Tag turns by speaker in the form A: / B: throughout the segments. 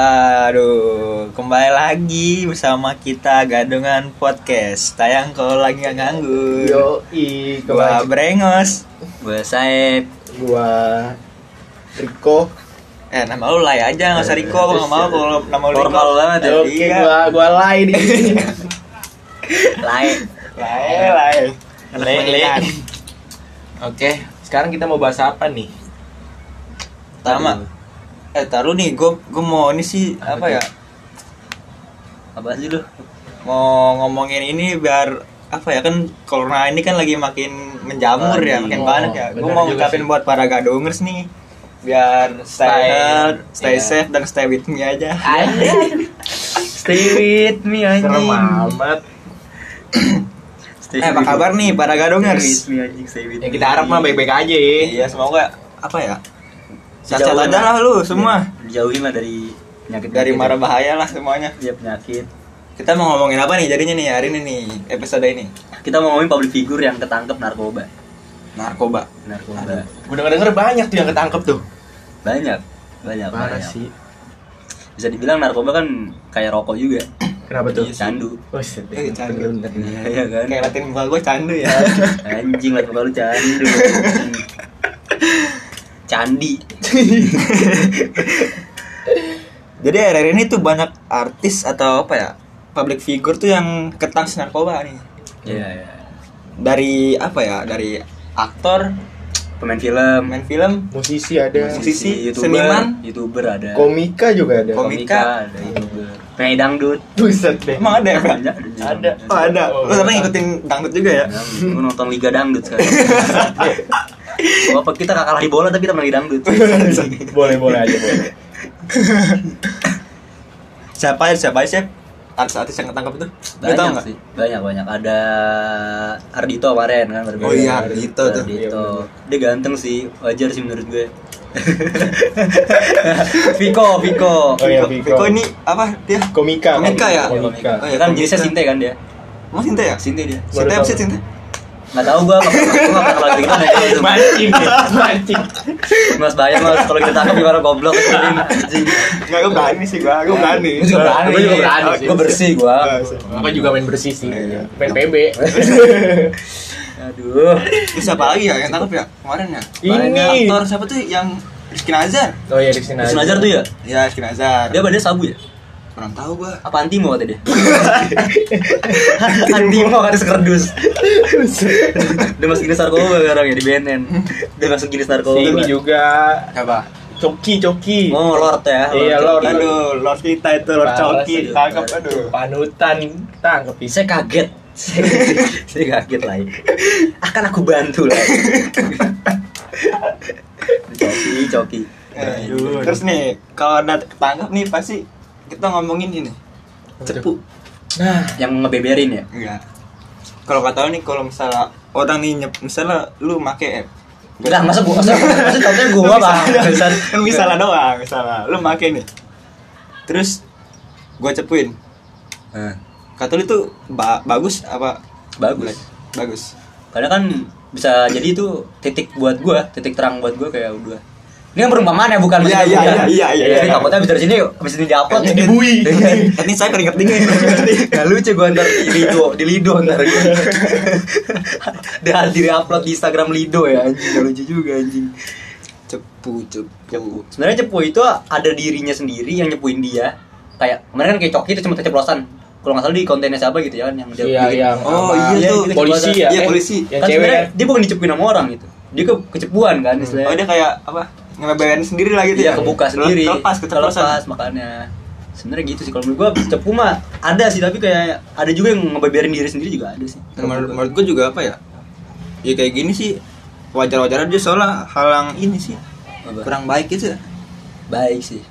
A: Aduh, kembali lagi bersama kita Gadungan Podcast. Tayang kalau lagi nggak nganggur.
B: Yo, i,
A: Gua Brengos.
C: Gue Saeb
B: gua Riko.
A: Eh, nama lu lay aja, nggak usah Riko, gua nggak mau kalau nama lu Riko.
C: Formal banget ya.
B: Oke,
A: Iya.
B: gua gua lay di sini.
C: Lae
A: Lay, lay. Lay, lay.
B: Oke, sekarang kita mau bahas apa nih?
A: Pertama. Eh, taruh nih, gua gua mau ini sih apa ya?
C: Apa sih lu?
A: Mau ngomongin ini biar apa ya kan corona ini kan lagi makin menjamur
C: Lagi.
A: ya, makin banyak ya. Gua
B: Bener
A: mau
B: juga
A: ngucapin
B: sih.
A: buat para gadungers nih biar stay
C: Stay-
A: health, stay
C: iya.
A: safe dan stay with me aja.
C: Stay with me
B: Serem amat.
C: Stay
A: eh, apa kabar nih para gadongers?
C: me anjing stay with
B: Ya kita harap mah baik-baik aja ya.
A: Iya, semoga apa ya? Cacat aja lah lu semua.
C: Jauhi mah Iya. dari penyakit
A: Dari mara
C: gitu.
A: bahaya lah semuanya.
C: Iya penyakit
A: Kita mau ngomongin apa nih jadinya nih hari ini nih episode ini?
C: Kita mau ngomongin public figure yang ketangkep narkoba
A: Narkoba.
C: Narkoba
B: Udah denger banyak tuh yang ketangkep tuh.
C: Banyak Banyak
B: Parah
C: Iya, banyak.
B: sih.
C: Bisa dibilang narkoba kan kayak rokok juga
B: Kenapa tuh?
C: Jadi Candu
B: Oh, sedih.
A: Eh, candu.
B: Bener.
C: Iya kan
A: Kayak latin muka gue candu ya.
C: Anjing lah muka lu candu Candi
A: Jadi hari ini tuh banyak artis atau apa ya? Public figure tuh yang ketangkep narkoba nih.
C: Iya iya
A: Dari apa ya? Dari aktor,
C: Pemain film
A: pemain film,
B: Musisi ada,
A: Musisi,
C: YouTuber,
A: seniman.
C: youtuber ada
B: komika juga ada.
A: Kom-
C: komika ada youtuber penyanyi dangdut
B: Buset deh.
A: emang ada ya? Pak?
C: Iya. ada
A: Oh, ada. Lu ternyata ngikutin dangdut juga ya?
C: Dangdut. Gua nonton liga dangdut sekarang Bapak kita gak kalah di bola tapi kita menang di dangdut Iya.
B: Boleh-boleh aja, boleh.
A: Siapa siapa sih? Artis-artis yang ketangkep itu? Lu tau
C: banyak
A: nggak?
C: sih banyak banyak ada Ardito kemarin kan baru-
A: Oh iya, Ardhito tuh. Iya,
C: Ardhito. dia ganteng sih wajar sih menurut gue Viko Viko
B: Oh iya, Viko.
A: Viko ini apa dia?
B: Komika.
A: Komika ya?
B: Komika.
A: Oh, iya,
C: kan
A: komika.
C: jenisnya Sinte kan dia
A: Emang Sinta ya?
C: Sinte dia
B: Baru
A: Sinta apa
B: tahu.
A: sih Sinta?
C: nggak tahu gue nggak pernah gua nggak pernah kalau gitu nanya gitu.
B: Mancing, ya, mancing.
C: Mas bayang mas kalau kita tangkap gimana goblok anjing.
A: Enggak, gue berani sih gue, gue berani
C: Gua juga berani.
B: Gua juga berani sih.
C: Gua bersih gua.
B: Aku juga main bersih sih.
A: Iya.
B: Main PB.
C: Aduh.
A: Terus siapa lagi ya yang tangkap ya? Kemarin ya?
B: Ini.
A: Aktor siapa tuh yang Rizky Nazar?
B: Oh iya di sini.
C: Terus Najar tuh ya?
A: Ya, Rizky Nazar
C: Dia badannya sabu ya?
A: Kurang tahu gue
C: Apa antimo kata dia? antimo kata sekerdus. Dia masuk jenis narkoba sekarang ya di BNN. Dia masuk jenis narkoba.
B: Si ini juga
A: Siapa?
B: Coki Coki.
C: Oh, Lord ya.
B: Iya, Lord.
A: Aduh, Lord kita itu, Lord
B: Parah
A: Coki
B: sih,
A: Tangkep,
C: parah.
A: aduh
B: Panutan tangkep bisa.
C: Saya kaget. Saya saya kaget lah. ya. Akan aku bantu lah. Coki, coki.
B: Nah,
A: Aduh. Eh, Terus nih, kalau udah ketangkep nih pasti kita ngomongin ini Cepu
B: Nah,
C: Yang ngebeberin ya?
A: Enggak. Kalau kata lu nih kalau misalnya orang nih nyep, misalnya lu make app.
C: Enggak, masa gua masa, masa contohnya gua
A: Lu
C: bang.
A: misalnya-
C: Bangsat.
A: Lu misalnya doang, misalnya lu make nih. Terus gua cepuin.
B: Nah.
C: Hah,
A: Kata lu itu ba- bagus apa?
C: Bagus.
A: Bagus.
C: Karena kan bisa jadi itu titik buat gua, titik terang buat gua kayak udah. Ini kan perumpamaan ya
A: Iya,
C: bukan maksudnya
A: iya,
C: bukan.
A: iya, iya, iya,
C: Jadi
A: iya.
C: takutnya abis dari sini abis ini diupload jadi
A: Ini-
C: bui.
A: Ini saya keringet dingin.
C: Gak lucu gua ntar di Lido, di Lido ntar gua. Dan di upload di Instagram Lido ya anjing, gak lucu juga anjing.
A: cepu, cepu.
C: Sebenarnya cepu itu ada dirinya sendiri yang nyepuin dia. Kayak kemarin kan kayak coki itu cuma keceplosan. Kalau nggak salah di kontennya siapa gitu ya kan yang dia
B: Iya,
C: bikin.
B: yang
A: Oh,
B: sama
A: iya tuh.
B: polisi ya.
A: Iya,
B: Eh,
A: polisi.
B: Yang
C: kan
B: cewek
C: sebenarnya
B: kan.
C: dia bukan dicepuin sama orang gitu dia ke kecepuan kan istilahnya
A: Oh, dia kayak apa? Ngebebarin sendiri lah gitu ya.
C: Iya, kebuka sendiri
A: Lepas,
C: Terlepas,
A: keterlepas.
C: makanya sebenarnya gitu sih kalau menurut gua cepu mah ada sih tapi kayak ada juga yang ngebeberin diri sendiri juga ada sih
A: Dan menurut, menurut gue juga apa ya? Ya kayak gini sih wajar-wajar aja soalnya halang ini sih
C: Apa?
A: kurang baik gitu.
C: baik sih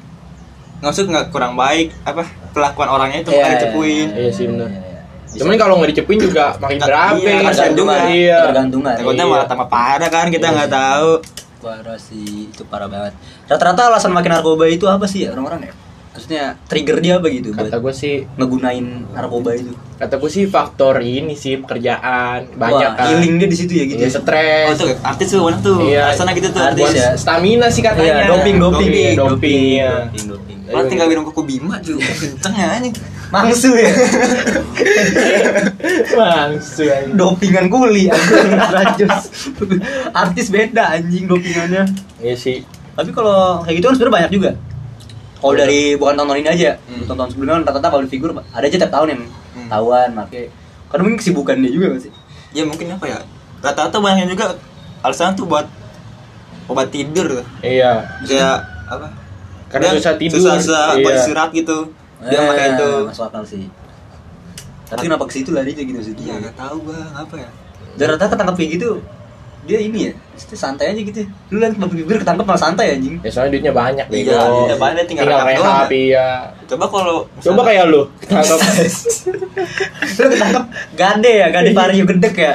A: Maksud nggak kurang baik apa kelakuan orangnya itu
C: Iya,
A: makanya
C: iya,
A: dicepuin.
B: Iya sih benar.
C: Iya, iya. Bisa.
B: Cuman kalau nggak dicepuin juga makin
A: Iya,
B: berabe.
A: kasihan juga.
B: Iya.
C: Tergantungan.
A: Takutnya
B: Iya.
A: malah tambah parah kan
C: Iya.
A: kita nggak tahu.
C: parah sih itu parah banget rata-rata alasan makin narkoba itu apa sih ya orang-orang ya maksudnya trigger dia apa gitu
B: Kata
C: buat
B: gue sih,
C: ngegunain narkoba itu
B: kata gue sih faktor ini sih pekerjaan banyak
C: Wah,
B: kan.
C: healing dia di situ ya gitu
B: Iya,
C: ya.
A: Oh
B: stres.
A: tuh artis tuh mana tuh?
B: Iya.
A: Alasannya gitu tuh
C: Artis
A: Buat-
C: ya.
B: Stamina sih katanya.
C: Iya, doping, doping,
B: doping,
C: doping,
B: doping, iya.
C: doping, doping.
A: Malah tinggal minum kuku bima juga kenceng ya anjing.
C: Mangsu ya.
B: Mangsu anjing.
C: dopingan kuli anjing Rajos. Artis beda anjing dopingannya.
B: Iya sih.
C: Tapi kalau kayak gitu kan sebenarnya banyak juga. Kalau
B: Iya.
C: dari bukan tahun ini aja,
B: Hmm.
C: tahun-tahun sebelumnya kan rata-rata public figure ada aja tiap tahun yang
A: Hmm.
C: tahuan make. Karena mungkin kesibukan dia juga nggak sih.
A: Ya mungkin apa ya? Rata-rata banyak yang juga alasan tuh buat obat tidur.
B: Iya.
A: Kayak apa?
B: Karena
A: Dia
B: susah tidur.
A: Susah, susah
B: Iya.
A: buat istirahat gitu. Dia pakai
C: Eh,
A: itu.
C: Masuk akal sih. Tapi kenapa ke situ larinya gitu sih
A: Iya,
C: dia?
A: enggak tahu bang apa ya.
C: Dan rata-rata ketangkep kayak gitu dia ini ya, maksudnya santai aja gitu. Lu lihat public figure ketangkep malah santai anjing.
B: Ya soalnya duitnya banyak
A: Iya,
B: bego.
A: duitnya banyak, tinggal rehab doang
B: rehab,
A: ya.
B: iya.
A: Coba kalau
B: Coba kayak lu ketangkap.
C: Lu ketangkep gade ya, gade vario gedek ya.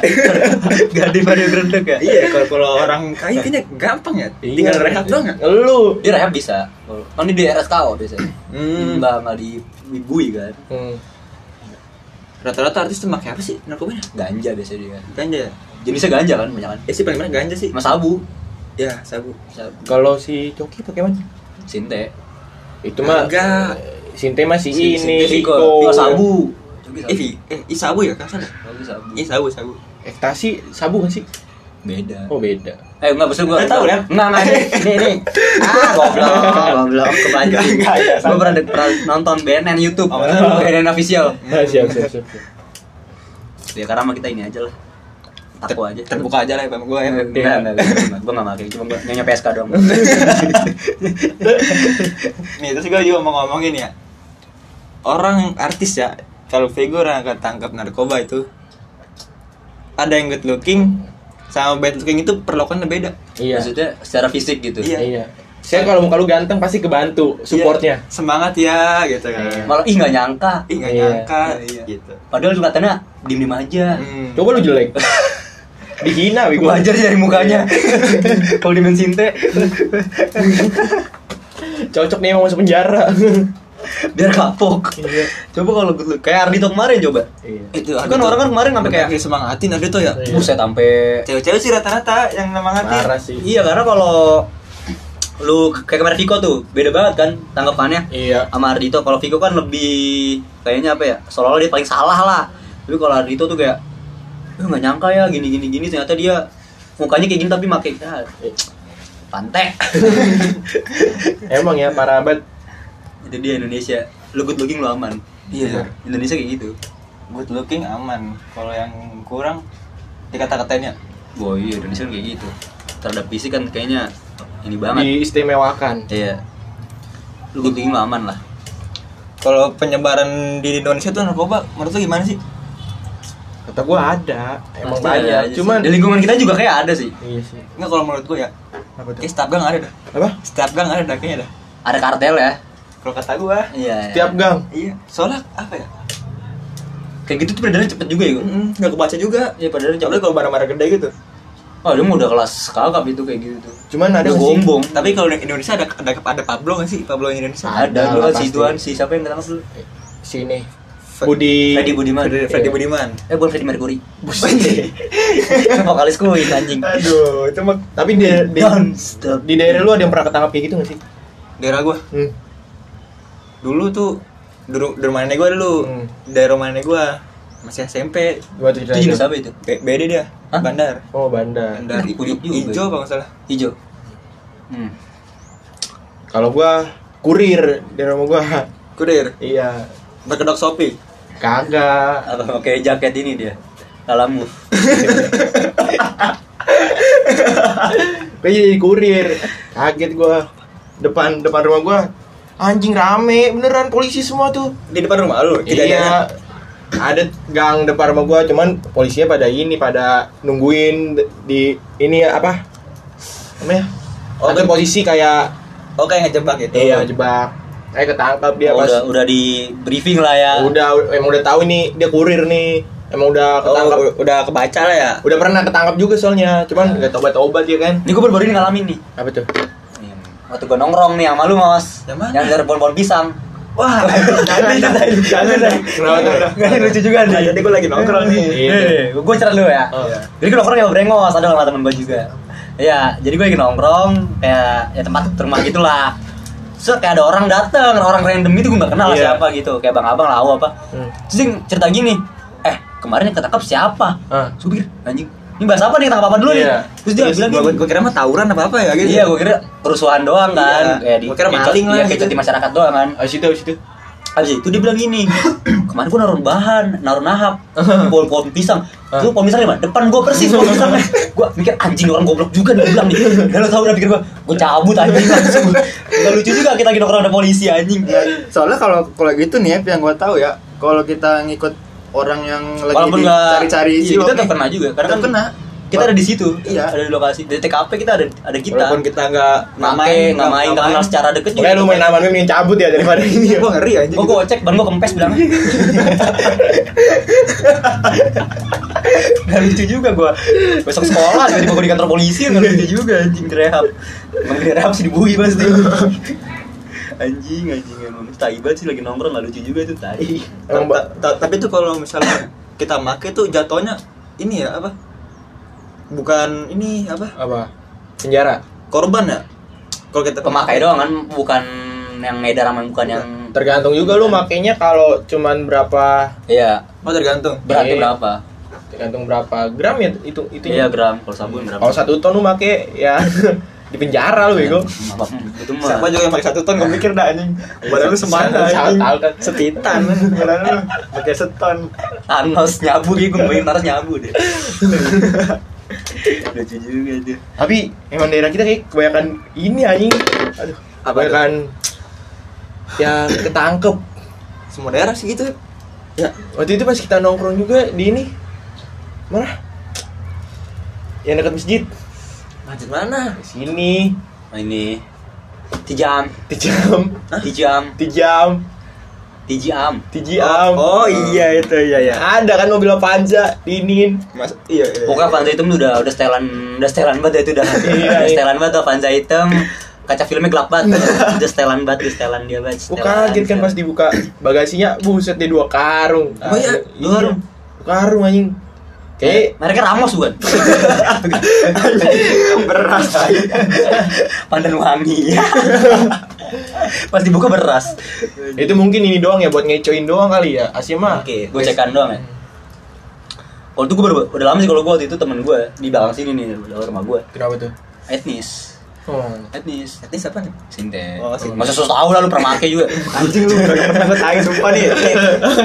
C: gade vario gedek ya.
A: Iya, kalau kalau orang kaya kayaknya gampang ya.
B: Iya.
A: Tinggal rehab doang ya.
B: Lu.
C: Dia rehab bisa. Kan di daerah kau biasanya.
A: Hmm.
C: Enggak, enggak di Wibui kan.
B: Hmm.
A: Rata-rata artis tuh pakai apa sih narkobanya?
C: Ganja biasanya dia kan.
A: Ganja ya?
C: Jenisnya ganja kan banyak kan.
A: Ya sih paling banyak ganja sih.
C: Sama sabu,
A: Ya, sabu.
C: sabu,
B: Kalau si Coki pakai mana?
C: sinte,
B: Itu mah eh,
A: Enggak.
B: Sinte masih
A: Si-
B: ini
A: Sinte
B: Riko.
C: Oh, sabu. Joki
A: Eh,
C: sabu.
A: Vi- eh, i sabu ya kan sana?
C: Joki sabu.
A: Iya, sabu, sabu.
B: Ektasi Eh, sabu gak sih?
C: Beda.
B: Oh beda.
C: Eh, enggak maksud gua.
A: Nggak tahu, kan?
C: Enggak, enggak ini, ini, ini. Ah, goblok, goblok kebanyakan.
A: Nggak, nggak,
C: Gua pernah, pernah nonton BNN YouTube.
A: Oh,
C: BNN official.
A: Hmm.
B: Nah, siap siap siap. siap.
C: Ya karena sama kita ini aja lah. Takwa aja.
A: Terbuka aja lah bang gue ya.
C: Enggak,
B: Iya.
C: enggak, enggak, enggak. Gua enggak pakai, cuma gua nyonya PSK doang.
A: Nih terus gue juga mau ngomongin ya Orang artis ya Kalau figur yang ketangkap narkoba itu Ada yang good looking Sama bad looking itu perlakuannya beda
B: Iya.
C: Maksudnya secara fisik gitu.
A: Iya.
B: Iya. Saya kalau muka lu ganteng pasti kebantu supportnya.
A: Iya, Semangat ya gitu kan
B: Iya.
C: Malah ih nggak nyangka.
A: Ih gak
B: Iya.
A: nyangka
C: Iya, iya.
A: gitu
C: Padahal juga katanya diem diem aja.
A: Hmm.
B: Coba lu jelek. Dihina bego.
C: Gua aja dari mukanya. Kalau diemin Sinte,
B: Cocok nih mau masuk penjara.
C: biar kapok.
B: Iya.
C: Coba kalau good look. kayak Ardito kemarin coba.
B: Iya.
A: itu
C: Kan
A: Adito.
C: orang kan kemarin sampai kayak-
A: Sampai semangatin ada tuh ya
B: Iya.
C: Buset sampai
A: cewek-cewek sih rata-rata yang
B: Parah
A: semangatin
B: sih.
C: Iya karena kalau lu kayak kemarin Viko tuh beda banget kan tanggapannya
B: Iya.
C: sama Ardito kalau Viko kan lebih kayaknya apa ya seolah-olah dia paling salah lah tapi kalau Ardito tuh kayak eh nggak nyangka ya gini gini gini ternyata dia mukanya kayak gini tapi make ya, pantek
B: Emang ya para abad.
C: itu dia Indonesia lu good looking lu aman
A: Iya.
C: Indonesia kayak gitu
A: good looking aman kalau yang kurang ya. dikata-katanya
C: boy iya Indonesia kan kayak gitu terhadap fisik kan kayaknya ini banget
B: diistimewakan.
C: iya lu good looking lu aman lah
A: kalau penyebaran di Indonesia tuh narkoba menurut lu gimana sih
B: Kata gua ada, emang
C: Pasti ada
B: banyak.
C: aja sih.
B: Cuman
C: di lingkungan kita juga kayak ada sih
B: Iya sih.
A: Enggak kalau menurut gue ya
B: Apa tuh?
A: Kayak setiap gang ada dah
B: Apa?
A: Setiap gang ada dah kayaknya dah
C: ada kartel ya
A: Kalau kata gue
C: iya
B: Tiap gang.
A: Iya Soalnya apa ya
C: kayak gitu tuh peredarannya cepet juga ya gua.
A: Mm-mm, Nggak kebaca juga
C: iya peredarannya
A: Kecuali
C: cepet
A: kalau barang-barang gede gitu
C: oh dia mau udah kelas kakap itu kayak gitu tuh
B: Cuman ada
C: Udah
B: nggak sih?
C: gombong
A: Tapi kalau di Indonesia ada ada, ada Pablo nggak sih? Pablo yang Indonesia
C: ada
B: Ada
C: dulu
B: lah
C: kan si
B: pasti.
C: Tuan si siapa yang ketangkap dulu
B: Sini.
A: Fe-
B: Budi.
C: Freddy Budiman
A: Freddy, Freddy Budiman
C: eh bukan Freddy Mercury bukan vokalis Queen anjing
B: Aduh, itu mah. Tapi di di,
C: Don't stop.
B: di daerah lu ada yang pernah ketangkap kayak gitu gak sih?
A: Daerah gue
B: Hmm.
A: Dulu tuh Di ru- di rumah nenek gue dulu
B: Hmm.
A: Dari rumah nenek gue Masih SMP
B: Gua tuh
C: itu jenis
B: cerita.
C: apa itu
A: B- BD dia
C: Hah?
A: Bandar
B: Oh, bandar.
A: Bandar
C: Nah, kunyuk juga.
A: Ijo kalau nggak salah
C: hijau hmm.
B: Kalau gua kurir dari rumah gua.
A: Kurir
B: Iya.
A: Berkedok Shopee
B: Kagak.
C: apa pakai jaket ini dia kalamu
B: Gua jadi kurir. Kaget gua. Depan depan rumah gua anjing rame beneran polisi semua tuh.
A: Di depan rumah lu kejadiannya.
B: Iya. Ada gang depan rumah gua cuman polisinya pada ini pada nungguin di ini ya, apa? Namanya?
A: Oh,
B: Ada
A: kan-
B: posisi kayak
A: Oh kayak ngejebak gitu
B: iya jebak. Kayak ketangkap dia
C: Oh,
B: pas
C: udah udah di briefing lah ya
B: udah emang udah tahu nih dia kurir nih. Emang udah ketangkap.
A: Oh, udah kebaca lah ya
B: Udah pernah ketangkap juga soalnya, cuman nggak tobat-tobat ya kan?
C: ini gue baru-baru ini ngalamin nih Iya,
B: Apa tuh?
C: waktu gue nongkrong nih sama lu mas
A: Yang mana?
C: yang dari pohon-pohon pisang
A: Wah,
C: Jangan, jangan, jangan, jangan.
B: Kenapa tuh?
C: Nggak, ini lucu juga nih.
A: Tadi gue lagi nongkrong nih.
B: Iya.
C: gue cerita dulu ya.
B: Oh.
C: Jadi gue nongkrong sama Brengos, ada sama temen gue juga. Iya, jadi gue lagi nongkrong kayak ya tempat rumah gitulah. Terus set kayak ada orang datang orang random itu gue nggak kenal lah
B: Iya.
C: siapa gitu kayak bang abang lau apa
B: Hmm.
C: terus dia cerita gini eh kemarin yang ketangkap siapa
B: Ah.
C: supir anjing ini bahas apa nih ketangkap apa dulu
B: Iya.
C: nih terus dia bilang
A: gua,
C: gini
A: gua kira mah tawuran apa apa ya gitu
C: iya gue kira kerusuhan doang
A: Iya.
C: kan kayak di
A: Gua kira maling lah
C: iya,
A: gitu.
C: kayak cuti masyarakat doang kan
B: Abis itu, abis itu.
C: Habis itu dia bilang gini, kemarin gua naruh bahan, naruh nahap di pohon pohon pisang. Itu pohon pisang di mana? Depan gua persis pohon pisangnya. Gua mikir anjing orang goblok juga nih gua bilang gitu. nih. Dan lo tau udah pikir gua, gua cabut anjing langsung. Gak lucu juga kita lagi nongkrong ada polisi anjing.
A: Ya, soalnya kalau kalau gitu nih Ep, yang gua tahu ya kalau kita ngikut orang yang lagi
C: Walaupun
A: di-
C: nggak
A: cari-cari
C: iya, kita
A: siwaknya,
C: tetap kena juga. Karena
A: tetap
C: kan
A: kena
C: kita ada di situ,
A: Iya.
C: ada di lokasi. Di TKP kita ada ada kita.
A: walaupun kita nggak
C: Nggak main, nggak main, nggak kenal secara deket juga.
B: Pokoknya lu main aman mending cabut ya daripada ini.
A: Iya, gua ngeri aja
C: Oh, Gua gocek, ban gua kempes bilang. Gak lucu juga gua Besok sekolah tiba-tiba gua di kantor polisi Gak lucu juga anjing direhab Emang direhab sih dibui pasti Anjing, anjing emang Tai banget sih lagi nongkrong gak lucu juga itu tai
B: Emang ba-
A: Ta- tapi tuh kalau misalnya kita make tuh jatuhnya ini ya apa bukan ini apa
B: apa? Penjara.
A: korban ya kalau kita
C: Pemakai doang kan bukan yang ngedar sama bukan
A: Iya.
C: yang
B: Nah, Tergantung juga lu makainya kalau cuman berapa
C: Iya,
A: oh tergantung
C: berarti
B: Iya.
C: berapa?
B: tergantung berapa gram ya itu itu
C: Iya gram, kalau sabun berapa?
B: Kalau satu ton lu make ya di penjara lu bego.
C: Apa, Hmm, Itu mah
A: siapa juga yang pakai satu ton gak mikir dah anjing badan lu semana
B: Satu- kan.
A: anjing
B: satu- satu-
A: setitan badan lu pakai seton
C: Thanos nyabu gitu, gue bayangin Thanos nyabu deh Lucu juga tuh
B: Tapi emang daerah kita kayak kebanyakan ini anjing. Aduh,
A: Apa
B: kebanyakan yang ketangkep.
A: semua daerah sih gitu ya
B: Waktu itu pas kita nongkrong juga di ini mana? Yang dekat masjid.
A: macet mana
B: Sini,
C: Nah, ini tijam
B: tijam,
C: tijam
B: tijam,
C: tijam
B: tijam.
A: oh iya itu iya ya
B: Ada kan mobil Avanza, dinin.
A: mas iya, iya.
C: pokoknya Vanza hitam tuh udah udah setelan udah setelan banget ya itu udah
B: Eh. Iya,
C: udah
B: iya.
C: setelan banget tuh Vanza hitam kaca filmnya gelap banget udah setelan banget udah setelan dia banget
B: Gue
C: setelan,
B: Iya. kaget kan
C: setelan.
B: pas dibuka bagasinya, buset deh dua karung.
A: Oh iya, dua
B: Iya,
A: karung.
B: Dua karung anjing. Kayak
C: mereka Ramos bukan
A: beras anjing.
C: pandan wangi pas dibuka beras
B: itu mungkin ini doang ya buat ngecoin doang kali ya. Asia mah.
C: Oke, gue cekan doang ya. Kalau itu gue baru, udah lama sih kalau gue waktu itu temen gue di belakang sini nih, di belakang rumah gue.
B: Kenapa tuh?
C: Etnis,
B: Oh.
C: etnis,
A: ini siapa nih
C: sinte.
A: Oh, Sinte.
C: Masa susah tahu lah lu pernah make juga.
A: anjing lu gak pernah gue tanya sumpah nih Eh,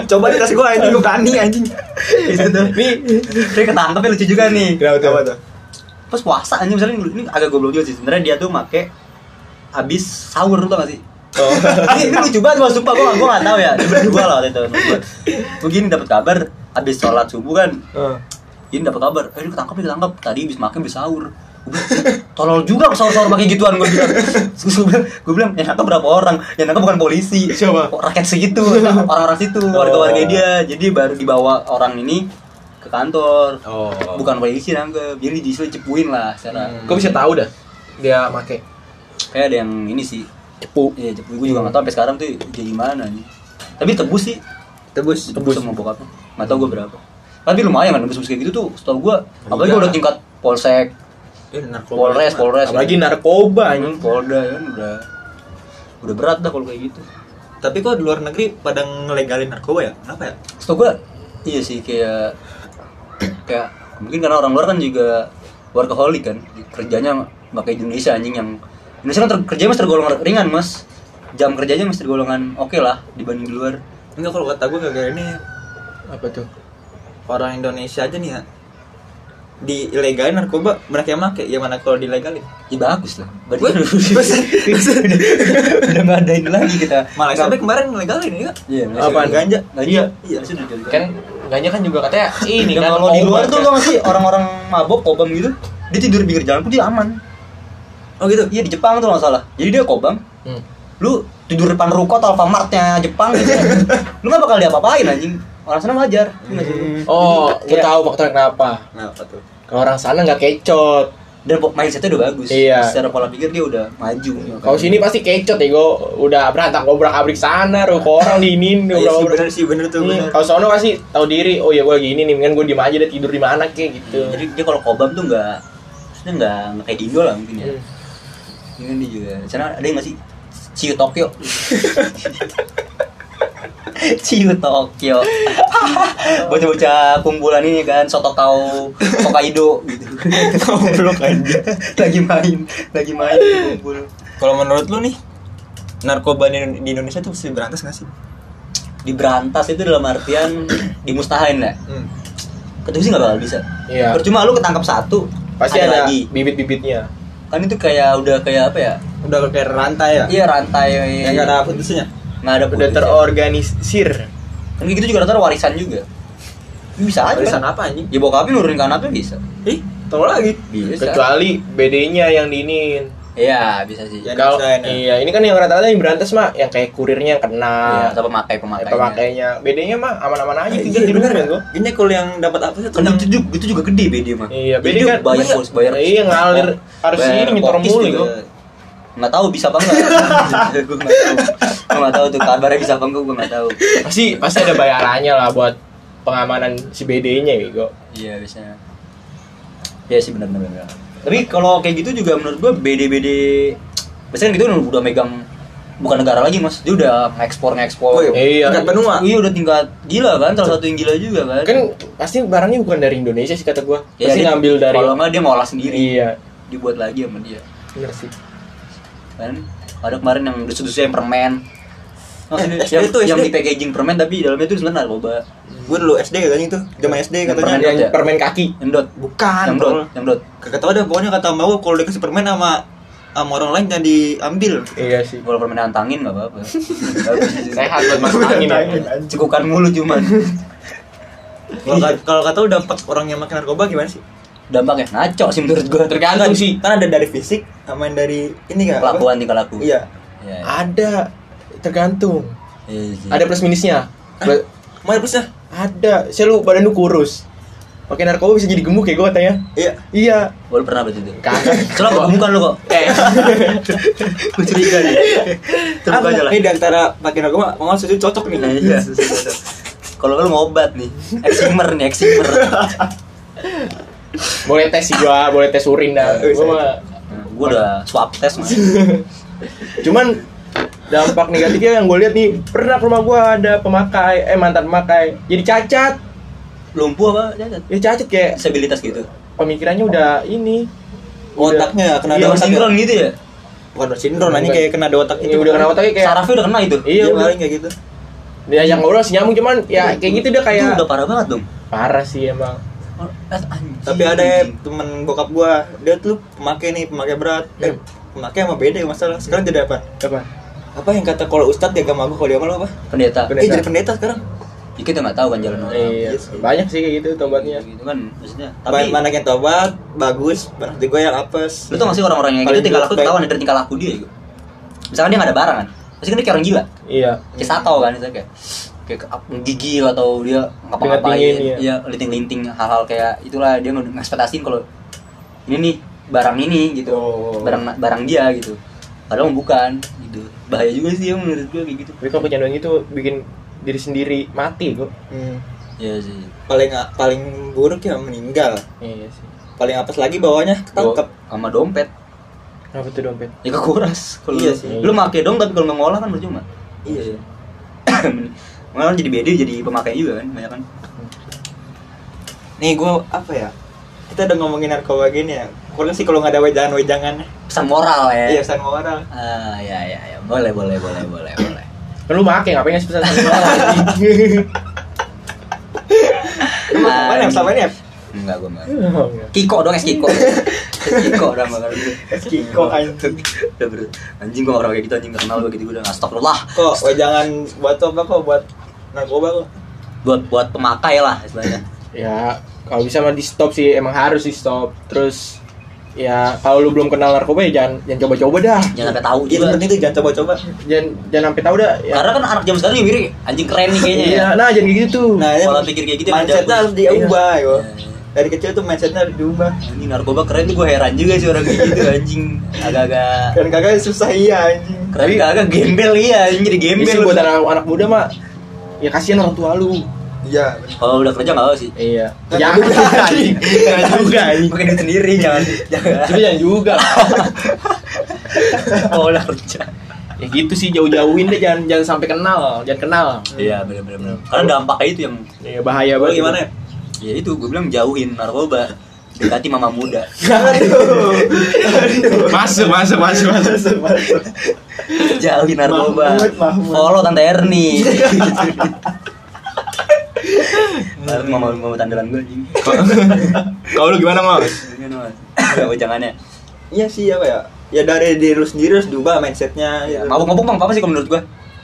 A: coba di tas gue anjing lu berani anjing
C: itu Iya, tuh. Tapi ketangkep ya lucu juga nih.
B: Kenapa tuh?
A: Apa tuh?
C: Pas puasa anjing misalnya ini, ini agak goblok juga sih. Sebenarnya dia tuh make abis sahur lu tau gak sih?
B: Oh.
C: ini, ini lucu banget gua sumpah gua gua gak tahu ya. Dia berdua lah waktu itu. Gue gini dapat kabar abis sholat subuh kan
B: Eh,
C: Ini dapat kabar, eh dia ketangkap, dia ketangkap. Tadi habis makan habis sahur. Gua bilang, "Eh, Tolol juga sahur-sahur pakai gituan gue bilang. Terus gue bilang, gue bilang yang nangkap berapa orang? Yang nangkap bukan polisi.
B: Siapa? Oh.
C: Kok Rakyat segitu, orang-orang situ, warga-warga dia. Jadi baru dibawa orang ini ke kantor.
B: Oh.
C: Bukan polisi nangkep. Jadi disuruh cepuin lah secara.
B: Kok bisa tahu dah? Dia make
C: Kayak ada yang ini sih.
B: cepu.
C: Iya, cepuin gue juga nggak tahu sampai sekarang tuh jadi gimana nih. Tapi tebus sih,
A: tebus
C: tebus sama bokapnya. Nggak tahu gue berapa. Tapi lumayan kan tebus kayak gitu tuh. Setahu gue, apalagi
A: Iya.
C: udah tingkat polsek,
A: Eh, narkoba.
C: Polres, Polres.
B: Apalagi narkoba
C: Ini
B: anjing.
C: Polda kan udah udah berat dah kalau kayak gitu.
A: Tapi kok di luar negeri pada ngelegalin narkoba ya? Kenapa ya?
C: Setahu gua iya sih kayak kayak mungkin karena orang luar kan juga workaholic kan kerjanya pakai Indonesia anjing yang Indonesia kan ter, kerjanya masih tergolong ringan mas jam kerjanya masih tergolongan oke lah dibanding di luar
A: Enggak kalau kata gue gara ini
B: Apa tuh?
A: orang Indonesia aja nih ya di ilegalin narkoba mereka yang make ya mana kalau dilegalin
C: ya bagus lah berarti kan udah udah nggak ada ini lagi kita
A: malah sampai kemarin ngelegalin ya
C: Iya,
B: Apaan?
A: ganja
C: Iya,
A: Iya.
C: Malaysia udah ganja.
B: Kan ganja kan juga katanya ini
C: Dan
B: kan
C: kalau di luar
B: obat
C: tuh
B: kan.
C: lo masih orang-orang mabok kobam gitu dia tidur di pinggir jalan pun dia aman
A: oh gitu
C: iya di Jepang tuh nggak salah jadi dia kobam
B: Hmm.
C: lu tidur depan ruko atau Alfamartnya Jepang gitu lu nggak bakal diapa-apain anjing orang sana wajar
B: Oh, gue
C: Iya.
B: tahu faktornya kenapa.
A: kenapa tuh
B: Kalau orang sana nggak kecot.
C: dan po- mindsetnya udah bagus
B: Iya.
C: secara pola pikir dia udah maju
B: Kalau sini pasti kecot ya, gue udah berantak obrak abrik sana, ruko orang diinin,
A: Iya sih
B: obrak abrik. Hmm,
A: bener sih bener tuh bener
B: Kalau sono pasti tahu diri, oh ya gue lagi ini nih, mendingan gue diem aja deh tidur di mana kayak gitu.
C: jadi dia kalau kobam tuh nggak maksudnya nggak nggak kayak di Indo lah mungkin ya
B: Hmm.
C: ini kan dia juga sana ada yang masih Ciu Tokyo. Ciu Tokyo. Bocah-bocah kumpulan ini kan soto kau Hokkaido gitu.
A: Goblok aja.
C: lagi main, lagi main gitu. di kumpul.
A: Kalau menurut lu nih, narkoba di, di Indonesia tuh mesti berantas gak sih?
C: Diberantas itu dalam artian dimustahin lah. Ketemu sih nggak bakal bisa.
B: Hmm. Iya.
C: Percuma lu ketangkap satu,
B: Pasti ada,
C: lagi.
B: bibit-bibitnya.
C: Kan itu kayak udah kayak apa ya?
A: Udah kayak rantai ya?
C: Iya rantai.
A: Yang gak ada putusnya.
C: nggak ada
B: Udah
C: putusnya.
B: terorganisir.
C: Kan gitu juga rata warisan juga. Ini Bisa aja.
A: Tulisan
C: Bang.
A: apa anjing?
C: Ya bokapnya nurunin kanapnya bisa.
A: Ih, tolong lagi.
C: Bisa.
B: Kecuali BD-nya yang diinin.
C: Iya, bisa sih.
A: Ya, Yang
C: Iya,
B: Kalau
A: desain, ya.
B: iya, ini kan yang rata-rata yang berantas mah yang kayak kurirnya yang kena.
C: Iya, sama pemakai
B: Eh,
C: pemakainya.
B: pemakainya. BD-nya mah aman-aman aja tidur di rumah gua.
A: Ini kalau yang dapat apa sih?
C: Kan itu juga, itu juga gede BD mah.
B: Iya, BD
C: Jadi dia
B: kan-
C: bayar
B: Iya.
C: bos, bayar.
B: Iya, ngalir. Harus
C: bayar
B: ini nyetor
C: kokis
B: mulu,
C: juga.
B: gua.
C: Nggak tahu bisa apa enggak. gue nggak tahu. Gue nggak tahu tuh kabarnya bisa apa enggak gue nggak tahu.
B: Pasti pasti ada bayarannya lah buat pengamanan si ya, BD-nya bego.
C: Iya, biasanya. Iya sih benar-benar. benar. Tapi kalau kayak gitu juga menurut gua BD-BD biasanya gitu udah megang bukan negara lagi mas dia udah ngekspor
A: Oh,
C: ngekspor
B: Iya.
A: Tingkat benua.
C: Iya udah tingkat gila kan, salah satu yang gila juga kan.
B: Kan pasti barangnya bukan dari Indonesia sih kata gua.
C: Ya,
B: Pasti
C: dia-
B: ngambil dari
C: Kalau nggak dia ngolah sendiri,
B: Iya.
C: dibuat lagi sama dia.
B: Bener sih.
C: Kan ada kemarin yang dusu-dusu yang permen. Maksudnya
A: Eh, SD
C: yang,
A: tuh,
C: yang
A: SD.
C: di packaging permen tapi di dalamnya itu sebenarnya narkoba.
A: Gue dulu SD kan itu, zaman SD
C: Yang
A: katanya.
C: permen
B: Yang
C: aja.
B: permen kaki.
C: Yang dot.
A: Bukan.
C: Yang dot,
A: tolol.
C: yang dot.
A: Kagak tau dah, pokoknya kata mbak gua kalau dikasih permen sama sama orang lain jangan diambil.
B: Iya sih.
C: Kalau permen antangin nggak apa-apa. Bagus itu.
B: Sehat buat masuk angin. ya.
C: Cekukan mulu cuman.
A: Kalau ka- kalau kata lu dampak orang yang makan narkoba gimana sih?
C: Dampaknya ngaco sih menurut gua.
B: Tergantung sih.
A: Kan ada dari fisik sama yang dari ini kan.
C: Kelakuan nih kelakuan.
A: Iya.
C: Iya.
B: Ada tergantung.
C: iya, iya.
B: Ada plus minusnya. Ba-
A: Mau ya plusnya?
B: Ada. Saya lu badan lu kurus. Pakai narkoba bisa jadi gemuk ya gue katanya.
A: Iya.
B: Iya.
C: Gua pernah berarti itu.
B: Kagak.
C: Celah bukan lu kok.
B: Eh.
C: Gua curiga nih. Terus
A: Apa?
C: aja lah.
A: Ah, Ini di antara pakai narkoba, mau setuju cocok nih.
C: Iya. Kalau lu mau obat nih, eksimer nih, eksimer.
B: boleh tes sih gua, boleh tes urin
C: Oh,
B: dah.
C: iya.
A: Eh,
B: Gua mah.
C: Gue udah swab test mas.
B: Cuman dampak negatifnya yang gue lihat nih pernah ke rumah gua ada pemakai eh mantan pemakai jadi cacat
C: Lumpuh apa? Cacat.
B: ya cacat kayak
C: Disabilitas gitu.
B: pemikirannya udah ini
A: Otaknya kena
B: Iya,
A: down
C: Down
B: otak
A: syndrome.
C: syndrome gitu ya?
A: Bukan down syndrome, anjing
B: Bukan.
A: kayak kena di otak
B: ya,
A: gitu.
B: udah kena otaknya kayak
C: Sarafnya udah kena itu.
A: Iya,
B: iya udah
A: paling kayak gitu.
B: dia yang ngobrol sih nyambung cuman ya kayak gitu dia
C: Iya. Itu
B: kayak
C: udah parah banget dong.
B: parah sih emang
C: Eh, anjing.
A: Tapi ada ya temen bokap gua, dia tuh pemakai nih, pemakai berat. Eh, pemakai sama beda yang masalah. Sekarang jadi apa?
B: apa
A: Apa yang kata kalau ustadz di agama gua kalau di agama lu apa?
C: pendeta.
A: Eh, jadi pendeta sekarang.
C: Ya, kita nggak tahu kan jalan orang.
B: iya,
A: sih.
B: banyak sih kayak gitu tobatnya
C: Gitu kan maksudnya.
A: Tapi
C: Tapi
A: mana yang tobat, bagus, mana hati gua yang apes.
C: lu tau gak sih orang-orang yang
A: Paling
C: gitu tingkah laku
A: baik.
C: ketahuan dari tingkah laku dia gitu. Misalkan dia nggak ada barang kan. Pasti kan dia kayak orang gila.
B: iya
C: Kayak satau kan itu kayak kayak ke- menggigil atau dia ngapa-ngapain
B: Lingatin, iya.
C: ya linting-linting hal-hal kayak itulah dia nge- ngekspektasiin kalau ini nih barang ini gitu
B: Oh.
C: barang barang dia gitu padahal bukan gitu bahaya juga sih ya menurut gue kayak gitu
B: tapi kalau kecanduan itu bikin diri sendiri mati kok
A: Hmm.
C: ya sih
A: Paling paling buruk ya meninggal.
B: iya sih
A: Paling apes lagi bawahnya ketangkep.
C: sama dompet
B: apa tuh dompet
C: ya kekuras kalau
A: Iya sih.
C: lu- lu make dong tapi kalau nggak ngolah kan percuma
A: Iya.
C: malah jadi BD jadi pemakai juga kan banyak kan
A: Nih gua apa ya? Kita udah ngomongin narkoba gini ya. Kurang sih kalau nggak ada wejangan-wejangan.
C: pesan moral ya
A: Iya, pesan moral.
C: ah ya ya ya boleh boleh boleh boleh boleh
B: kan lu make ngapain ngasih pesan sama orang anjing?
A: Lu mau kemana
C: Ah,
A: yang sama ini ya?
C: enggak gue enggak
B: Enggak.
C: Kiko dong es Kiko. Es Kiko udah makan.
A: Kiko anjing.
C: Udah bro. Anjing gua nggak pernah kayak gitu anjing nggak kenal gua gitu gua udah astagfirullah.
A: Kok wejangan buat apa kok buat narkoba kok?
C: Buat buat pemakai lah istilahnya.
B: ya kalau bisa mah di stop sih emang harus di stop terus ya kalau lu belum kenal narkoba ya jangan jangan coba-coba dah
C: Jangan sampai tahu
A: Iya,
C: juga.
A: penting itu jangan coba-coba.
B: jangan jangan sampai tahu dah ya
C: Karena kan anak jam sekarang mirip anjing keren nih kayaknya ya.
B: Iya, nah jangan gitu tuh
A: Nah, ya,
C: Pola pikir kayak gitu emang
A: mindsetnya
C: jago.
A: harus diubah, yo.
C: Iya, iya.
A: Dari kecil tuh mindsetnya harus diubah.
C: Anjing narkoba keren tuh gua heran juga sih orang kayak gitu anjing. Agak-agak
A: Dan kagak susah iya anjing.
C: keren agak gembel iya anjing jadi
B: Ini
C: gembel.
B: sih buat anak, anak muda mah ya kasihan orang tua lu
A: Iya.
C: Kalau udah kerja nggak apa sih.
B: iya
A: Nggak
B: jangan
A: juga,
B: anjing. Nggak juga anjing.
C: Pakai duit sendiri jangan. Jangan.
B: Tapi jangan juga
C: Kalau udah kerja.
B: ya gitu sih jauh-jauhin deh jangan jangan sampai kenal jangan kenal
C: Iya benar-benar. Karena dampaknya itu yang
B: ya bahaya
A: Lu
B: banget
A: gimana ya?
C: Iya. ya itu gue bilang jauhin narkoba. Dekati mama muda.
B: masuk masuk masuk masuk
C: Jauhin narkoba.
D: Mahmud, Mahmud.
C: Follow tante Erni. Baru mama mama tandalan gue anjing.
B: kalau lu gimana mas
C: Gak jangannya.
A: Iya sih apa ya? Ya dari diri lu sendiri harus diubah mindsetnya.
C: Ya,
A: gitu.
C: mabuk-mabuk bang, apa sih kalau menurut gua?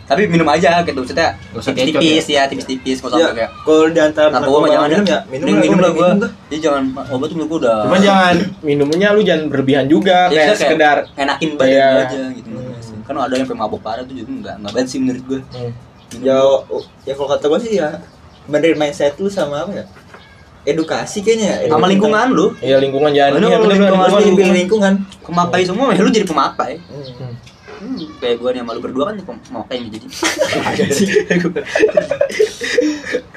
C: Tapi minum aja gitu, maksudnya
B: Gak usah
C: tipis-tipis ya, tipis-tipis, gak usah
A: Ya,
C: sampai kayak
A: kalau di antara
C: narkoba mah jangan
A: minum
C: ya,
A: ya,
C: minum minum lah gua.
A: gua.
C: Jadi jangan obat tuh menurut gua udah.
B: cuman jangan minumnya lu jangan berlebihan juga
C: Ya,
B: kayak
C: maksudnya
B: sekedar
C: enakin badan
B: Iya.
C: gua aja gitu. Kan ada yang sampai mabuk parah tuh juga enggak enggak banget sih menurut gua.
B: Hmm.
A: Ya, oh, ya kalau kata gua sih ya benerin mindset lu sama apa ya? Edukasi kayaknya ya.
C: Sama
A: Edukasi.
C: lingkungan lu,
B: Iya lingkungan jangan
C: Bener,
B: iya,
C: kalau
B: bener,
A: Lu
B: bener,
A: harus
C: lingkungan.
A: dibimbing lingkungan.
C: pemakai
B: Iya.
C: semua, ya lu jadi pemakai.
A: Hmm.
C: Hmm, kayak gua nih sama lu berdua kan pem- pemakai nih jadi.
B: Iya.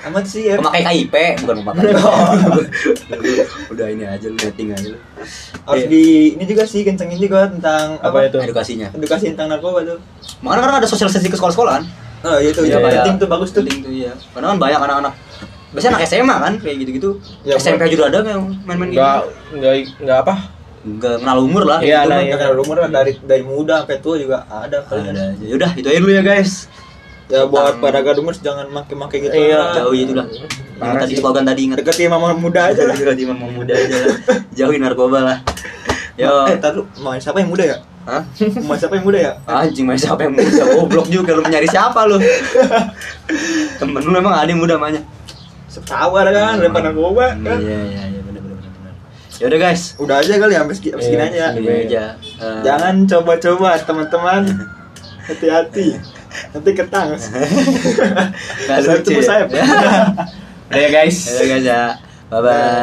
A: Amat sih ya.
C: Pemakai KIP, bukan pemakai.
B: Oh.
C: Udah ini aja lu netting aja lu.
A: Harus
C: Iya.
A: di ini juga sih kencengin juga tentang
B: Apa itu?
C: Edukasinya.
A: Edukasi tentang narkoba tuh.
C: Makanya kan ada sosialisasi ke sekolah-sekolahan.
A: Oh, iya tuh,
B: Iya,
A: itu
B: iya.
A: penting tuh bagus tuh.
C: Penting tuh iya. Karena kan banyak anak-anak biasanya anak SMA kan kayak gitu-gitu.
A: Ya,
C: SMP
A: buat-
C: juga ada kayak main-main gitu.
B: enggak enggak enggak apa
C: Enggak kenal umur lah.
B: Iya,
C: gitu
B: nah,
C: kan.
A: Ya, kalau umur kan dari dari muda sampai tua juga ada. kali.
C: Ada aja. Yaudah, itu aja dulu ya guys.
A: Ya buat
C: Tentang-
A: para gadumers jangan make-make gitu.
B: Iya.
A: lah.
C: Jauh itu lah. Yang
B: Parah
C: tadi
B: sih.
C: slogan tadi ingat.
A: Deketin mama muda aja lah.
C: Dekati mama muda aja lah. Jauhin narkoba lah. Yo.
A: Eh, tar lu, main siapa yang muda ya?
C: Hah?
A: Main siapa yang muda ya?
C: Anjing main siapa yang muda? Goblok juga lu nyari siapa lu? Temen lu emang ada yang muda mainnya.
A: Setawar kan,
B: Hmm.
A: lempar narkoba kan.
C: Iya iya iya benar benar benar. Yaudah guys.
A: Udah aja kali ya, sampai segi- sampai segini
B: Hmm. Iya,
A: aja.
C: Ini aja. Eh,
A: Jangan coba-coba teman-teman. Hati-hati. Nanti ketang.
C: nggak
A: Saya
C: lucu
A: tunggu
C: ya.
A: sayap.
B: udah ya guys
C: Yaudah guys ya. Bye bye.